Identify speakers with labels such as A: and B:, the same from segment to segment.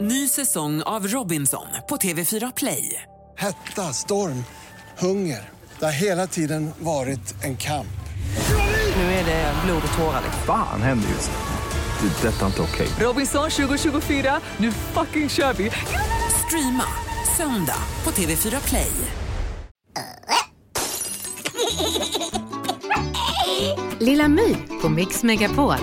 A: Ny säsong av Robinson på TV4 Play.
B: Hetta, storm, hunger. Det har hela tiden varit en kamp.
A: Nu är det blod och tårar. liksom.
C: Fan händer just nu. Det. är Detta är inte okej.
A: Robinson 2024, nu fucking kör vi! Streama söndag på TV4 Play.
D: Lilla My på Mix Megapol.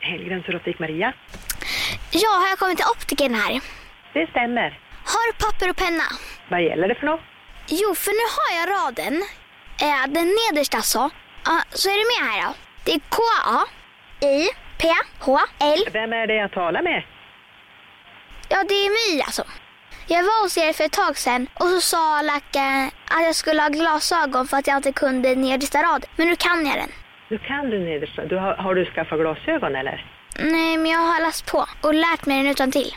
E: Helgrens Erotik Maria.
F: Ja, har jag kommit till optiken här?
E: Det stämmer.
F: Har du papper och penna?
E: Vad gäller det för något?
F: Jo, för nu har jag raden. Eh, den nedersta så. Ja, så är du med här då. Det är K-A-I-P-H-L.
E: Vem är det jag talar med?
F: Ja, det är My alltså. Jag var hos er för ett tag sedan och så sa läkaren att jag skulle ha glasögon för att jag inte kunde nedersta rad. Men nu kan jag den.
E: Du kan du nedersta. Du har, har du skaffat glasögon eller?
F: Nej, men jag har läst på och lärt mig den utan till.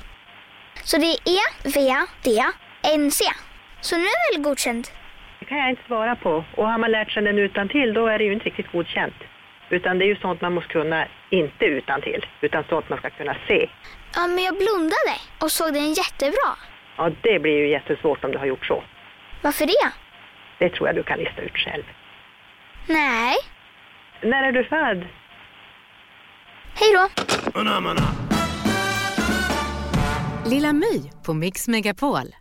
F: Så det är E, V, D, N, C. Så nu är det väl godkänt?
E: Det kan jag inte svara på. Och har man lärt sig den utan till då är det ju inte riktigt godkänt. Utan det är ju sånt man måste kunna, inte utan till, utan sånt man ska kunna se.
F: Ja, men jag blundade och såg den jättebra.
E: Ja, det blir ju jättesvårt om du har gjort så.
F: Varför det?
E: Det tror jag du kan lista ut själv.
F: Nej.
E: När är du född?
F: Hej då.
D: Lilla My på Mix Megapol.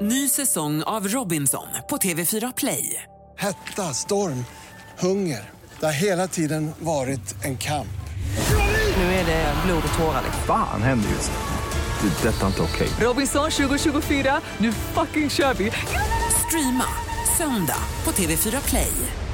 A: Ny säsong av Robinson på TV4 Play.
B: Hetta, storm, hunger. Det har hela tiden varit en kamp.
A: Nu är det blod och tårar.
C: Fan händer just nu. Det. är Detta är inte okej.
A: Robinson 2024, nu fucking kör vi! Streama söndag på TV4 Play.